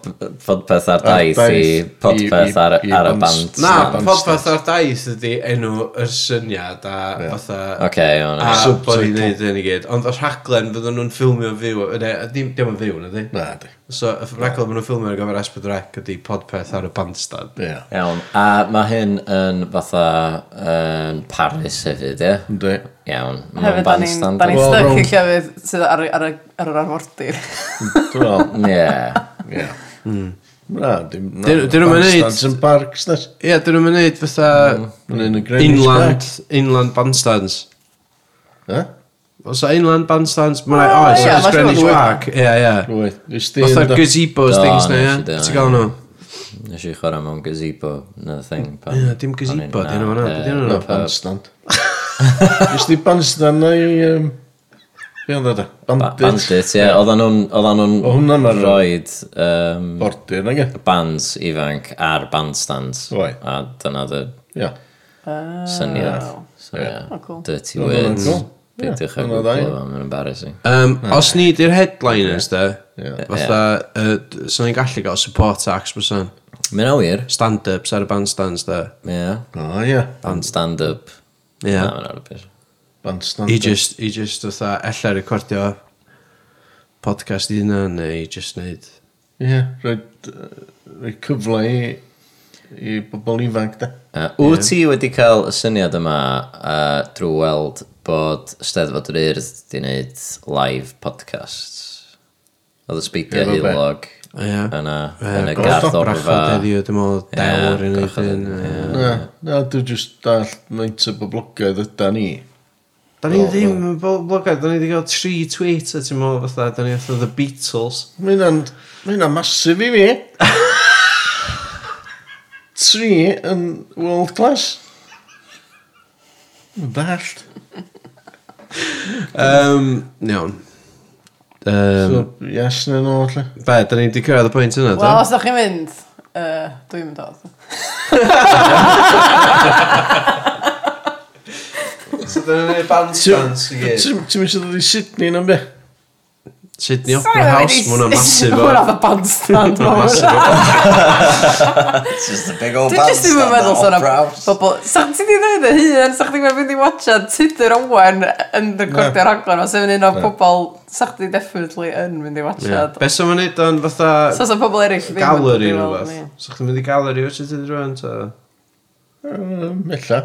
S1: podpeth ar daith i
S4: daith,
S1: podpeth
S4: i-
S1: ar
S4: i- i
S1: ar y
S4: band-
S1: band.
S2: Na,
S4: Bandstand.
S2: podpeth ar daith ydi enw yr syniad a fatha...
S1: Oce, iawn.
S2: A
S4: Subtitle.
S2: bod ni'n neud hyn i gyd. Ond y rhaglen fydden nhw'n ffilmio yn fyw. Ne, dim dim yn fyw, na di?
S4: Na, di.
S2: So, y rhaglen fydden nhw'n ffilmio ar gyfer Esbydrec ydi podpeth ar y bandstand.
S4: Ie.
S1: Iawn. A mae hyn yn fatha yn Paris hefyd, ie?
S4: Ynddi.
S1: Iawn. Mae'n
S3: Hefyd, da ni'n
S1: bandstand.
S3: da ni'n
S4: Wel,
S3: styc i
S4: rownd-
S3: llefydd sydd ar, ar, y- ar yr arfordir.
S4: Wel,
S1: Ie.
S4: ie.
S2: Hmm.
S4: Na, dim... na,
S2: Dyn- dyn nhw'm yn neud-
S4: Bandstands yn parks, nes.
S2: Ie, yeah, dyn nhw'n mynd fatha
S4: Yn un y Greenwich
S2: inland, inland bandstands.
S4: Park. Ie?
S2: Os a inland bandstands, mae'n
S3: O,
S2: rhaid,
S3: ie,
S2: oes, oes
S3: ma' siŵr
S2: oh, Greenwich
S3: fod-
S2: Park. Ie, ie.
S4: Rwy'n. Dwi'n
S2: Fatha
S4: styn...
S2: gazebos,
S1: Do,
S2: things na, ie.
S1: nes i do,
S2: Ti'n
S1: ie.
S2: gael nhw?
S1: Nes i chwarae mewn gazebo yn y thing. pan-
S2: Ie, dim
S1: pan
S2: gazebo,
S1: i'n-
S2: di enw hwnna,
S1: yy,
S2: be di enw hwnna?
S4: Na, bandstand. Dwi'n styn bandstand na i... yym, Be oedd yna?
S1: Ba-
S4: Bandit.
S1: Bandit, ie. Oedden nhw'n... Oedden
S4: O, hwnna'n
S1: nhw'n
S4: arw-
S1: roed um,
S4: Bordir, nag e?
S1: bands ifanc ar bandstands.
S4: Oi.
S1: A dyna dy
S4: Ie.
S1: syniad. So, ie.
S3: O, cool.
S1: Dirty
S4: Hwnna'n
S1: words.
S4: cool. Ie,
S1: Beidiwch a
S4: hwnna'n
S1: gwybod
S4: dda.
S1: am yn embarrassing.
S2: Um, os ni di'r headliners da,
S4: Ie.
S2: fatha, uh, so ni'n gallu gael support acts bysan,
S1: Mae'n awyr.
S2: stand-ups ar y bandstands da.
S1: Ie.
S4: O, ie.
S1: Band stand-up.
S2: Ie.
S1: Na, mae'n ar y byd.
S4: Bandstand.
S2: I just, i just fatha, ella recordio podcast i dyna, neu i just neud.
S4: Ie. Rwy'n... Rwy'n cyfle i... I bobl ifanc, da.
S1: Uh, wyt ti wedi cael y syniad yma uh, drwy weld bod Steddfod yr Urdd wedi gwneud live podcasts? Oedd y speaker
S4: Efo be?
S1: heulog
S2: Ie.
S1: yna,
S2: Yy,
S1: yn y
S2: gorff-
S1: garth o'r fa.
S2: Brachod heddiw, dim ond dewr yn ei ddyn.
S4: Na, na, dwi'n just dall maint o boblogaidd yda ni.
S2: Da ni ddim yn blogad, da ni wedi cael tri tweet a ti'n meddwl fatha, da ni fatha The Beatles.
S4: Mae hynna'n... Mae hynna'n masif i fi. Tri yn world class. Yn dallt.
S2: Um, iawn. Um,
S4: So, yes neu no, lle.
S2: be, da ni wedi cyrraedd y pwynt yna, da?
S3: Wel, os da chi'n mynd, yy, dwi'n mynd oedd.
S2: So dyn ni'n neud bandstands i gyd.
S4: Ti'n mynd i ddod i Sydney na'n be?
S2: Sydney Opera House, mae hwnna'n masif
S3: Mae
S2: o...
S3: hwnna'n bandstand. ma' hwnna.
S2: Masif o...
S5: It's just a big old
S3: Dwi jyst ddim yn
S5: bandstand
S3: meddwl sôn am
S5: opera house.
S3: bobl... Sa ti di dweud y hun, sa chdi wedi mynd i watcha Tudor Owen yn recordio rhaglen, os efo'n un o bobl... Sa chdi definitely yn mynd i watcha.
S2: Ie. Be sy'n mynd i dan fatha
S3: So sa pobl eraill ddim yn dod i
S2: galeri neu
S3: weld
S2: beth?
S3: ni.
S2: So chdi'n mynd i galeri o sydd wedi rhywun? ta?
S4: Um, Ella.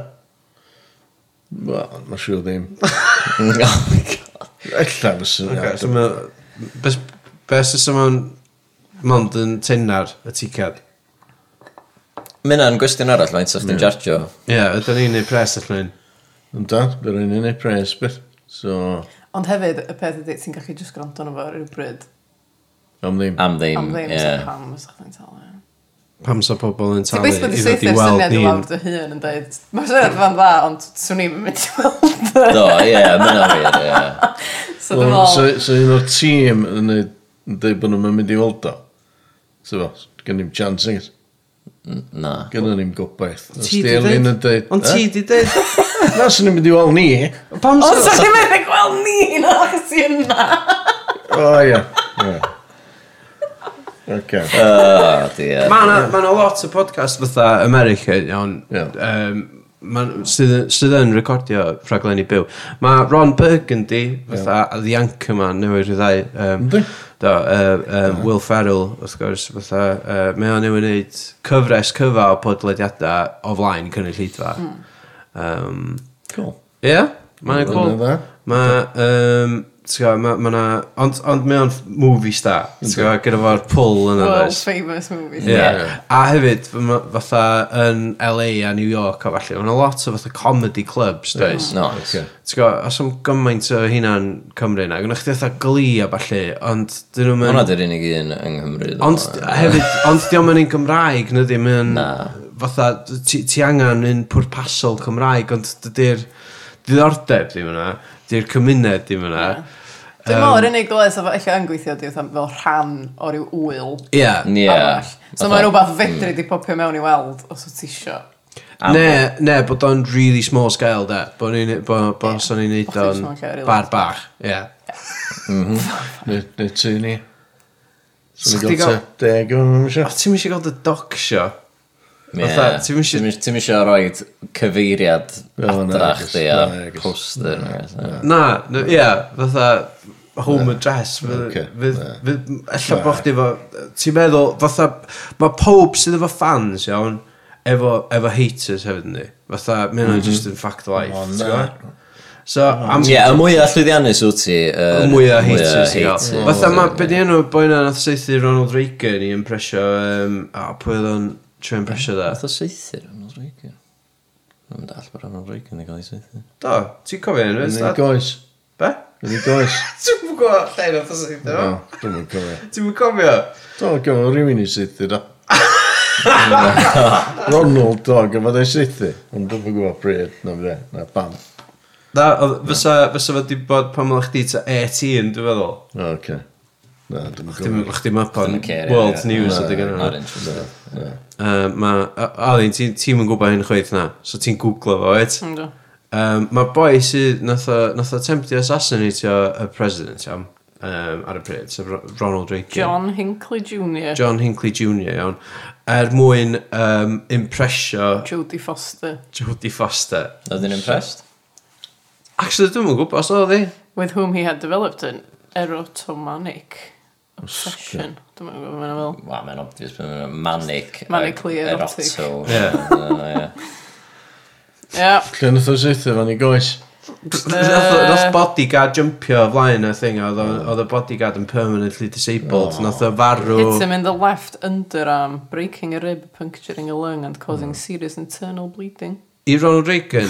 S4: Wel, mae'n siŵr ddim.
S1: Oh my god.
S4: Ella fysa.
S2: Oce, so ma- bes- Be sy'n sy'n mynd mond yn tennar y ticad?
S1: Mae hynna'n gwestiwn arall, mae'n sy'ch ti'n jarjo.
S2: Ie, ydyn ni'n ei pres allan.
S4: Ynda, byr yn unig pres byth. So,
S3: Ond hefyd, y peth ydy, ti'n gallu just granto'n efo rhywbryd.
S4: am ddim.
S1: Am ddim,
S3: Am ddim,
S1: ie.
S3: sa pam, sa chdi'n talu.
S2: Pam sa pobl yn
S3: Ti'n
S2: talu i ddod
S3: basically di
S2: i
S3: seithio'r
S2: weld
S3: syniad i
S2: ni'n...
S3: lawr dy hun yn dweud, mae'r syniad fan dda, ond swn i'n mynd i weld.
S1: Do, ie, mae hynna'n weird, ie.
S3: So dwi'n
S4: Wel, So,
S3: meddwl,
S4: so un o'r tîm yn neud- yn dweud bod nhw'n mynd i weld o. So fo, gen i'm chance nes.
S1: Na.
S4: Gen i'm gobaith. Os
S2: Ti
S4: di
S2: di
S4: Elin yn
S2: dweud?
S4: dweud...
S2: Ond ti di dweud?
S4: Na, sy'n ni'n mynd i weld ni.
S2: Pam
S3: o,
S2: sa...
S3: swn i'n mynd i gweld ni yn achos i yna.
S4: O, ia. Ia. Oce.
S1: O, di,
S2: Mae yna ma 'na lot o podcast fatha America, iawn,
S4: Ie.
S2: yym, ma- sydd sydd yn recordio rhaglenni byw. Mae Ron Burgundy, fatha The Anchorman, newydd rhyddai. Um,
S4: Yndi. Uh-huh.
S2: do, uh, uh, Will Ferrell, wrth gwrs, fatha, uh, mae o'n newydd wneud cyfres cyfa o podlediadau o flaen cynnig llidfa. Ie, um,
S4: Cool.
S2: yeah, mae'n cool.
S4: Yn dda.
S2: Mae, um, ti'n gwybod, mae ma 'na... Ond, ond mae o'n movie star, ti'n gwybod, gyda fo'r pull yna.
S3: World
S2: does?
S3: famous movies.
S2: Yeah. A hefyd, fy- ma- fatha yn LA a New York a falle, mae'n lot o fatha comedy clubs, does?
S1: Nice.
S2: Ti'n gwybod, os am gymaint o hynna'n Cymru na, gwna chdi fatha gli a falle, ond dyn nhw'n...
S1: Hwna dy'r unig un yng Nghymru. do.
S2: Ond hefyd, ond diolch yn un Gymraeg, nid ddim yn...
S1: Na.
S2: Fatha, ti- ti angen un pwrpasol Cymraeg, ond dydy'r diddordeb ddim yna, dydy'r cymuned ddim yna.
S3: Dwi'n
S2: Um,
S3: meddwl yr unig les efo eich yn gweithio di fatha fel rhan o ryw wyl
S2: Ie.
S1: Ie.
S3: arall. So
S1: Fatha-
S3: mae'n rhywbeth
S2: Mm.
S3: fedri di popio mewn i weld os wyt ti isio.
S1: Am-
S2: Ne, ne, bod o'n really small scale, da. Bod ni'n bo, bo, yeah. so ni'n neud
S3: Bo' chdi'n
S2: o'n
S3: small scale, really.
S2: bar bach. Ie.
S4: Ne- Ne ti ni. So
S2: Sa'ch di
S4: ni'n gael
S2: gael-
S4: te deg o'n
S2: O, ti'n mysio gael dy doc sio?
S1: Ie.
S2: fatha, ti'm isio-
S1: Ti'm isio- Ti'm isio rhoi cyfeiriad
S4: O, na,
S1: adra
S4: I guess,
S1: chdi
S4: na, I
S1: a
S4: guess.
S1: poster. neu beth, ie.
S2: Na, n- ie, fatha home address.
S4: Ocê, na.
S2: Alla bod chdi fo... Ti'n meddwl, fatha... Mae pob sydd efo fans, iawn, efo, efo haters hefyd ni. Fatha, mae hwnna'n just in fact life.
S4: O,
S2: ti'n
S4: Mhm. na.
S2: gwbod? So, am
S1: Ie, y mwy a llwyddiannus wyt ti...
S2: y
S1: y
S2: mwy o
S1: mwy
S2: haters i
S1: haters.
S2: gael. Fatha, mae beth enw boi na nath seithi Ronald Reagan i impresio... Um, a pwy oedd o'n trio impresio da?
S1: Nath o seithir Ronald Reagan. Dwi'n dall bod Ronald Reagan wedi cael ei seithir.
S2: Do, ti'n cofio enw?
S4: Yn
S2: is
S4: ei
S2: that-
S4: goes.
S2: Be?
S4: Yn ei goes.
S2: Ti'n mwyn gofio lle nath o seithi
S4: O,
S2: o?
S4: Dwi'm yn cofio.
S2: Ti'n mwyn cofio?
S4: Do, gofio rhywun i seithi da. Ronald, do, gofio da i seithi. Ond dwi'n gwybod bryd, na fe, na bam.
S2: Na, oedd- fysa, fysa fod wedi bod pan mae'n chdi ta 18, dwi'n feddwl.
S4: O, Oce. Na, dwi'n
S2: Dim
S4: gwybod.
S2: yn chdi map on
S1: Dwi'n care,
S2: World
S1: ie.
S2: News
S1: Na,
S2: ydy gynnu.
S1: Not interested.
S2: Mae, Alin, ti- ti'm yn gwybod hyn chweith na, so ti'n googlo fo, wait?
S3: Yndw.
S2: Um, mae boi sydd nath o nath o attempt i assassinatio y president iawn, um, ar y pryd, sef Ro- Ronald Reagan.
S3: John Hinckley Jr.
S2: John Hinckley Jr. iawn, er mwyn um, impresio
S3: Jodie Foster.
S2: Jodie Foster.
S1: Oedden impressed?
S2: Actually, dwi'n mwyn gwybod, os oedd hi?
S3: With whom he had developed an erotomanic
S2: Oh,
S3: obsession. Dwi'n meddwl beth mae'n fel.
S1: Wel, mae'n obvious bod mae'n manic.
S3: Manically
S1: ac
S3: erotic.
S1: eroto.
S2: Ie.
S1: Ie.
S3: Ia,
S4: Lle nath o seithi fan i goes.
S2: Nath o- nath bodyguard jumpio o flaen y thing, oedd o- oedd y bodyguard yn permanently disabled, nath o farw...
S3: hits him in the left underarm, breaking a rib, puncturing a lung and
S2: Mm.
S3: causing serious internal bleeding.
S2: I Ronald Reagan?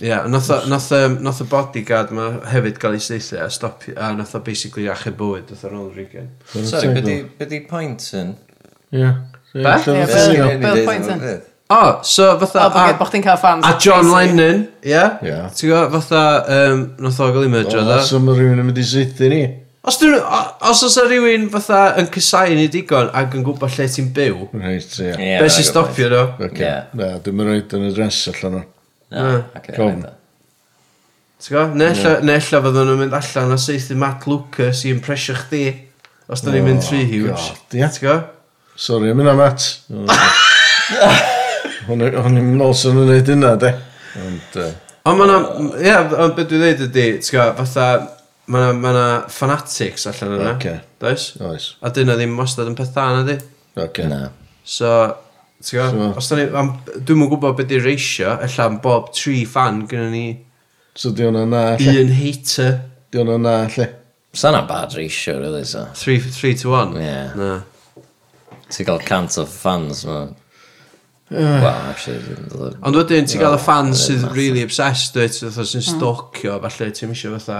S2: Ie, nath o- nath yym, nath y bodyguard ma hefyd gael ei seithi a stop, a nath o basically achub bywyd, nath o Ronald Reagan.
S1: Sorry, byddi- byddi point yn?
S4: Ie.
S2: Be?
S3: Ie,
S4: Lle nath o
S3: be-
S4: seithi?
S3: Bill Clinton.
S2: O, so
S3: O,
S2: fatha...
S3: bod bod chdi'n cael fans.
S2: a, a John
S3: basically.
S2: Lennon, ie?
S4: Ie. Oh,
S2: Ti'n gwybod, fatha, um, nath o gael ei mydro,
S4: O,
S2: dda?
S4: so mae rhywun yn mynd i seithi ni.
S2: Os dwi'n... o- Os oes rhywun fatha yn cysau ni digon ac yn gwybod lle ti'n byw,
S4: Reit, ie.
S1: Ie,
S2: be
S1: na,
S2: sy'n
S1: good
S2: stopio nhw?
S4: Oce.
S1: Ie.
S4: Na, dwi'n mynd rhaid yn y dres allan o.
S1: point. Na,
S2: Mm.
S1: ocê,
S4: Come.
S1: rhaid o.
S2: Ti'n gwybod? Neu ella yeah. fydden nhw'n mynd allan a seithi Matt Lucas i impresio chdi os da ni'n mynd tri huge.
S4: Oh, God, ia.
S2: Ti'n gwybod?
S4: Sorry, am yna, Matt. O'n i'n nolson yn gwneud hynna, de. Ond, yy,
S2: Ond ma' 'na- ie, ond beth dwi'n dweud ydy, ti'n gwybod, fatha, ma' 'na- ma' 'na fanatics allan yna,
S4: Ocê.
S2: does?
S4: oes.
S2: A dyna ddim wastad yn peth da na di.
S4: Oce.
S1: Na.
S2: So, ti'n gwybod,
S4: So-
S2: os da ni, am- dwi'm yn gwybod beth di'r ratio, ella am bob tri fan gyda ni
S4: So, di hwnna na, lle.
S2: un hater,
S4: Di hwnna na, lle.
S1: Sa'n a bad ratio, really, so.
S2: three, three to one.
S1: Ie.
S2: Na.
S1: Ti'n cael cant o fans, ma. Wel, actually, dwi'n dod...
S2: Ond wedyn, ti'n gael y fans
S1: Ie,
S2: sydd
S1: massive.
S2: really obsessed, dwi, ti'n fatha
S3: Mm.
S2: sy'n stocio, falle, ti'n misio fatha,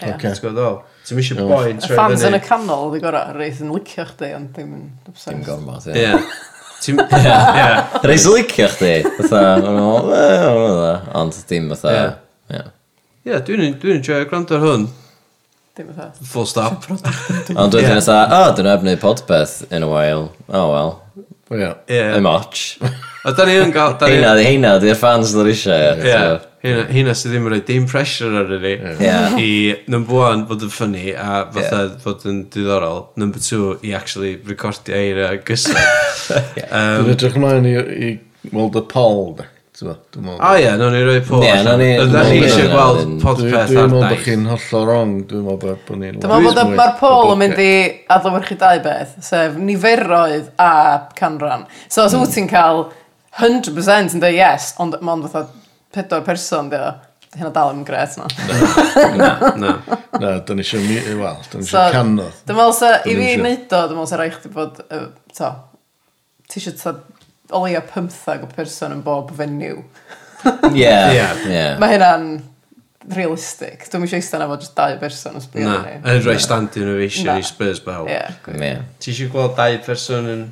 S4: Oce.
S2: ti'n gwybod ddol? Ti'n misio boi'n
S3: Y fans yn y canol, di gorau, reith yn licio chdi, ond ddim yn
S1: Dim
S3: obsessed.
S1: gormod, ie.
S2: Ie. Ti'n, ie.
S1: Reis licio chdi, fatha, ma'n nhw, "Eh, ma'n nhw dda." ond dim fatha, ie.
S2: Ie, dwi'n dwi enjoy gwrando ar hwn.
S3: Dim fatha.
S2: Full stop. Ie.
S1: Ond dwi'n dweud fatha, o, dwi'n ebnu podpeth in a while, oh well,
S4: Ie.
S2: Ie.
S1: I'm watch.
S2: A da ni yn gael... da ni-
S1: Heina, di- heina, di'r fans ddod eisiau,
S2: Ie.
S1: ie.
S2: Hynna- Hynna sydd ddim yn rhoi dim pressure ar yni.
S1: Ie.
S2: I, number one, fod yn ffynnu a fatha fod yn diddorol. Number two, i actually recordio eira gysau.
S4: Dwi'n edrych ymlaen i, i weld y pol, de. Ti'n meddwl, dwi'n meddwl.
S2: O ie, nawn ni roi pob.
S1: Ie, nawn ni-
S2: Yna
S1: nawn
S2: ni
S1: ni-
S2: eisiau
S1: nawn
S2: gweld
S1: ni-
S4: Dwi-
S2: podpeth
S4: Dwi'n
S2: ar
S4: meddwl bod
S2: daith.
S4: chi'n hollol wrong, dwi'n meddwl bod- bod ni'n...
S3: Dyma
S4: lot
S3: bod y-
S4: mwy
S3: mae'r poll yn
S4: poblogaidd.
S3: mynd i adlewyrchu dau beth, sef niferoedd a canran. So os wyt ti'n cael 100% yn dweud yes, ond mae'n fatha pedwar person, dio, hynna dal yn gret na.
S2: Na.
S4: Na, da ni eisiau mi... Wel, da ni
S3: So,
S4: eisiau canodd.
S3: Dwi'n meddwl sa, i
S4: Dwi'n
S3: fi
S4: isio.
S3: wneud o, dwi'n meddwl sa rai chdi bod, yy, to, ti eisiau ta, o leia 15 o person yn bob fenyw.
S1: Ie,
S2: Ie.
S1: ie.
S3: Mae hynna'n realistic. Dwi'n eisiau eistedd na fod jyst dau person yn sbio
S2: Na.
S3: arni.
S2: Yn rhoi standing ovation
S3: Na.
S2: i Spurs bawb.
S3: Ie.
S1: Ie.
S2: Ti eisiau gweld dau person yn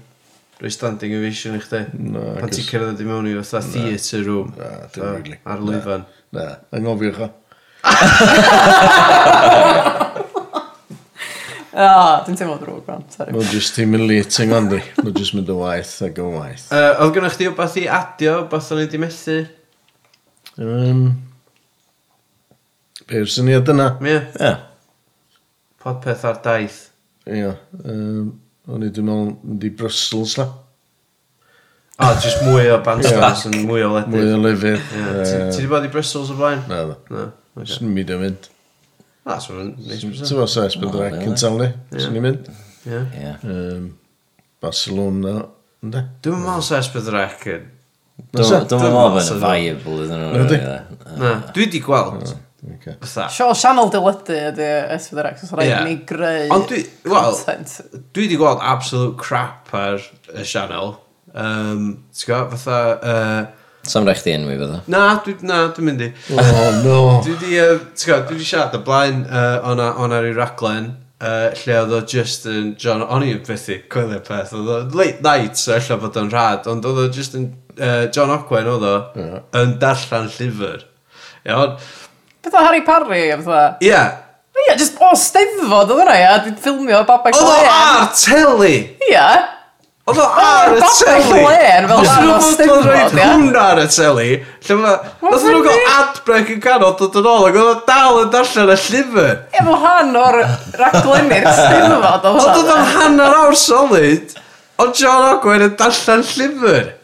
S2: rhoi standing ovation i chdi?
S4: Na,
S2: Pan ti'n
S4: achos-
S2: cyrraedd i mewn i fatha theatre room.
S4: Na, dim
S2: fatha,
S4: rili.
S2: Ar lwyfan.
S4: Na, angofio cho.
S3: O, dwi'n teimlo drwg, bron, sori.
S4: Mae'n just ti'n mynd leating ond di. Mae'n just mynd o waith ac o waith.
S2: Yy, Oedd gennych chdi wbeth i adio, wbeth o'n i di methu?
S4: Um, Be'r syniad yna?
S2: Mie,
S1: Ie.
S2: podpeth ar daith.
S4: Ia. Um, o'n i dwi'n meddwl mynd i Brussels la.
S2: O, oh, jyst mwy o bandstans yn mwy o
S4: Mwy
S2: ledydd.
S4: o lefydd.
S2: Ie, Ti
S4: Yy,
S2: ti di bod i Brussels o blaen?
S4: Na, da.
S2: Na.
S4: Swn i'n mynd i mynd.
S2: That's what nice
S4: Ti'n
S2: person.
S4: meddwl saes bydd
S1: O,
S4: rhaid
S1: really?
S4: cyntal ni? Swn i'n mynd.
S2: Ie.
S1: Ie.
S4: Um, Barcelona. Ynda?
S2: Dwi'n meddwl sef beth record.
S1: Dwi'n
S4: Dwi'n
S1: meddwl bod
S2: Dyna-
S1: yn viable iddyn nhw.
S4: Ydy.
S1: really.
S2: Na, dwi di gweld. Fatha.
S3: Sio, sianel dyledu ydy S4X, os rhaid
S2: Ie.
S3: ni greu
S2: Ond dwi, wel,
S3: content.
S2: dwi wedi gweld absolute crap ar y sianel. Um, T'w gwybod, fatha... Uh,
S1: Sam rhaid chdi enwi fydda.
S2: na, dwi, na, dwi'n mynd i.
S4: Oh, no.
S2: Dwi wedi, uh, ti'n gwybod, dwi wedi siarad y blaen uh, o'na, o'na ryw raglen uh, lle oedd o just yn, John, o'n i fethu gwylio'r peth, oedd o late night, so ella fod o'n rhad, ond oedd o just yn, uh, John Ogwen oedd o,
S4: Ie.
S2: yn darllen llyfr. Iawn?
S3: Beth o Harry Parry, am fatha.
S2: Ie,
S3: Ie, just o steddfod oedd hwnna, ia, dwi'n ffilmio babau
S2: oedd o
S3: glen.
S2: ar teli!
S3: Ie.
S2: Oedd o ar y
S3: Babau
S2: teli!
S3: glen, fel
S2: Os
S3: rhan
S2: nhw fod
S3: o
S2: o'n rhoi
S3: steddfod, ia.
S2: hwnna ar y teli, lle ma, nath nhw
S3: funny.
S2: gael ad-break yn canol dod yn ôl, ac oedd o dal yn darllen y llyfr.
S3: Efo rhan o'r raglennu'r steddfod oedd
S2: Ond oedd o'n
S3: hwnna.
S2: hanner awr solid O John Ogwen yn darllen llyfr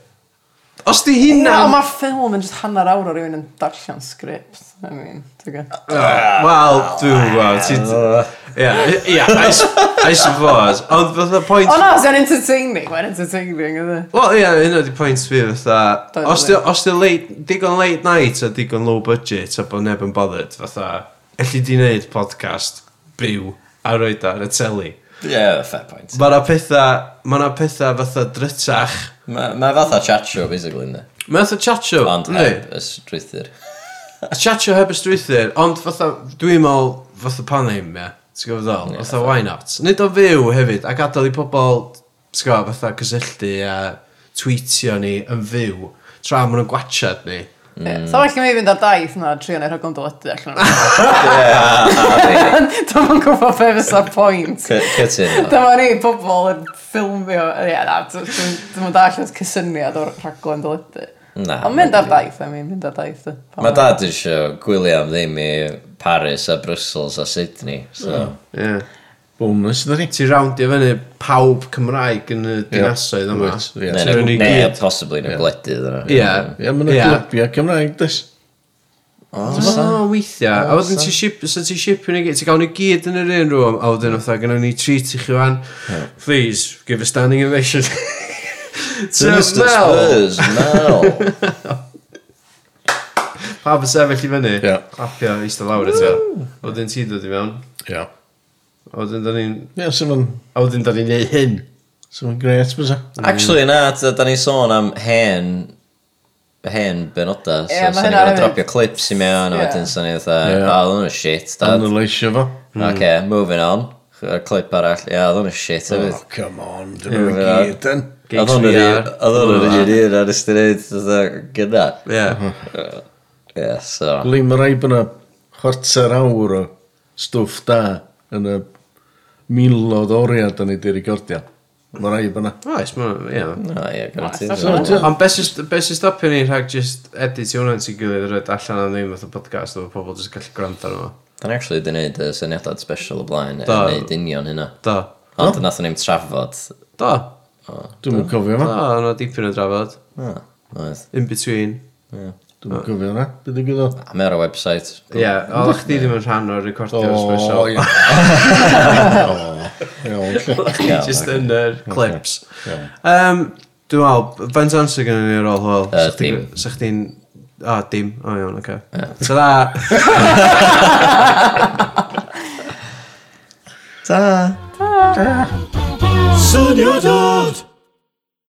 S2: Os di
S3: Ie,
S2: hynna
S3: ond mae'r ffilm yn just hanner awr o rywun yn darllen sgript. I mean, ti'n gwybod.
S2: Wel, dwi'n gwybod ti- Ie, ie, I s- I suppose Ond fatha
S3: O
S2: pwynt
S3: na, sy'n entertaining, mae'n entertaining, ydy.
S2: Wel, ie, hynna di pwynt fi fatha
S3: Don't
S2: Os di,
S3: worry.
S2: os di late, digon late night a digon low budget A bod neb yn bothered fatha Elli di wneud podcast byw a roed ar y teli
S1: Ie, fair point.
S2: Mae na pethau, mae na pethau fatha drytach
S1: Mae ma fatha chat show, basically, ynddi.
S2: Mae fatha chat show
S1: Ond
S2: yndi?
S1: heb y strwythyr.
S2: A chatio heb y strwythyr, ond fatha, dwi'n meddwl, fatha pan ddim, ie. Ti'n gwybod ddol? Fatha, why not? Nid o fyw hefyd, a gadael i pobl, ti'n gwybod, fatha cysylltu a tweetio ni yn fyw, tra maen nhw'n gwachad ni.
S3: Ie, So well i mi fynd ar daith na trio neu rhaglen dyledu allan o'n Dwi'n gwybod be fysa'r pwynt.
S1: Cytun.
S3: Dyma ni pobl yn ffilmio, ie na, dwi'n dall o'r cysyniad o'r rhaglen dyledu.
S1: Na.
S3: Ond mynd ar daith, I mean, mynd ar daith. yy, pam
S1: Mae
S3: na.
S1: dad eisiau gwylio am ddim i Paris a Brussels a Sydney. So.
S2: Ie.
S4: Bonus, da ni.
S2: Ti'n rawndio fyny pawb Cymraeg yn y dinasoedd yma.
S4: Wyt, ie.
S1: Neu,
S2: Ti'n rhoi
S1: neu,
S2: ni
S1: neu
S2: gyd.
S1: possibly neu gwledydd yna.
S2: Ie.
S4: Ie, mae'n y
S2: Ie.
S4: glybia Cymraeg, dys.
S2: O, weithiau. A wedyn ti ship, so ti ship yn i gyd, ti gawn i gyd yn yr un rŵm, a wedyn oedd gynnu ni treat i chi fan, please, give a standing ovation. So,
S1: Sinister
S2: Mel,
S1: Spurs, Mel.
S2: pawb yn sefyll i fyny,
S4: Ie.
S2: clapio, eistedd lawr eto. A wedyn ti dod i mewn,
S4: Ie.
S2: a wedyn da ni'n,
S4: Ie, sef yn...
S2: a wedyn da ni'n neud hyn.
S4: Sef yn gret, bysa.
S1: Mm. Actually, na, t- da ni'n sôn am hen hen benoda, so
S3: Ie, ma'
S1: yeah, sa'n ni'n
S3: hynna
S1: gorfod
S3: hefyd.
S1: dropio clips i mewn, a
S3: Ie.
S1: wedyn sa'n ni'n dda,
S4: Ie.
S1: o, oedd hwnna shit, dad.
S4: Analysio fo.
S1: Ok, moving on. Y clip arall, ie, oedd hwnna shit hefyd.
S4: Mm. Oh, come on, dyn nhw'n
S1: Ie.
S4: gyd yn.
S1: Oedd hwnna'r un-
S2: VR.
S1: oedd hwnna'r un un ar ystod neud, oedd gyda.
S2: Ie.
S1: Ie, so.
S4: Li, mae rai bod yna chwarter awr o stwff da yn y milodd oriau da ni di recordio. Mae rai bod yna.
S2: Oes, ma, ie.
S1: Na, ie,
S3: Oes,
S1: garantid.
S3: oes.
S4: So,
S2: Ond beth sy'n be sy stopio ni rhag just edit i hwnna'n sy'n gilydd rhaid allan am ddim fath o podcast o pobl jyst gallu gwrando arno fo.
S1: Da'n actually di wneud y syniadad special o blaen, yn
S2: Do.
S1: neud union hynna.
S2: Do.
S1: Ond nath ni'n trafod.
S2: Do.
S4: dwi'n mwyn cofio
S2: Do,
S4: yma.
S2: yna dipyn o drafod.
S1: Na, oedd.
S2: In between.
S4: Dwi'n mwyn cofio yna. Byd y gwydo.
S1: A mae ar y website.
S2: Ie, yeah, o, chdi ddim yn rhan o'r recordio
S4: O,
S2: special.
S4: ie. O, ie.
S2: Chdi
S1: Iawn,
S2: just yn yr clips.
S4: Iawn.
S2: Um, Dwi'n meddwl, faint amser gynnu ni ar ôl hwyl?
S1: Yy,
S2: Sa chdi-
S1: dim.
S2: Sa chdi'n... O, dim. O, iawn, oce. So da,
S1: Ta!
S6: Syniadad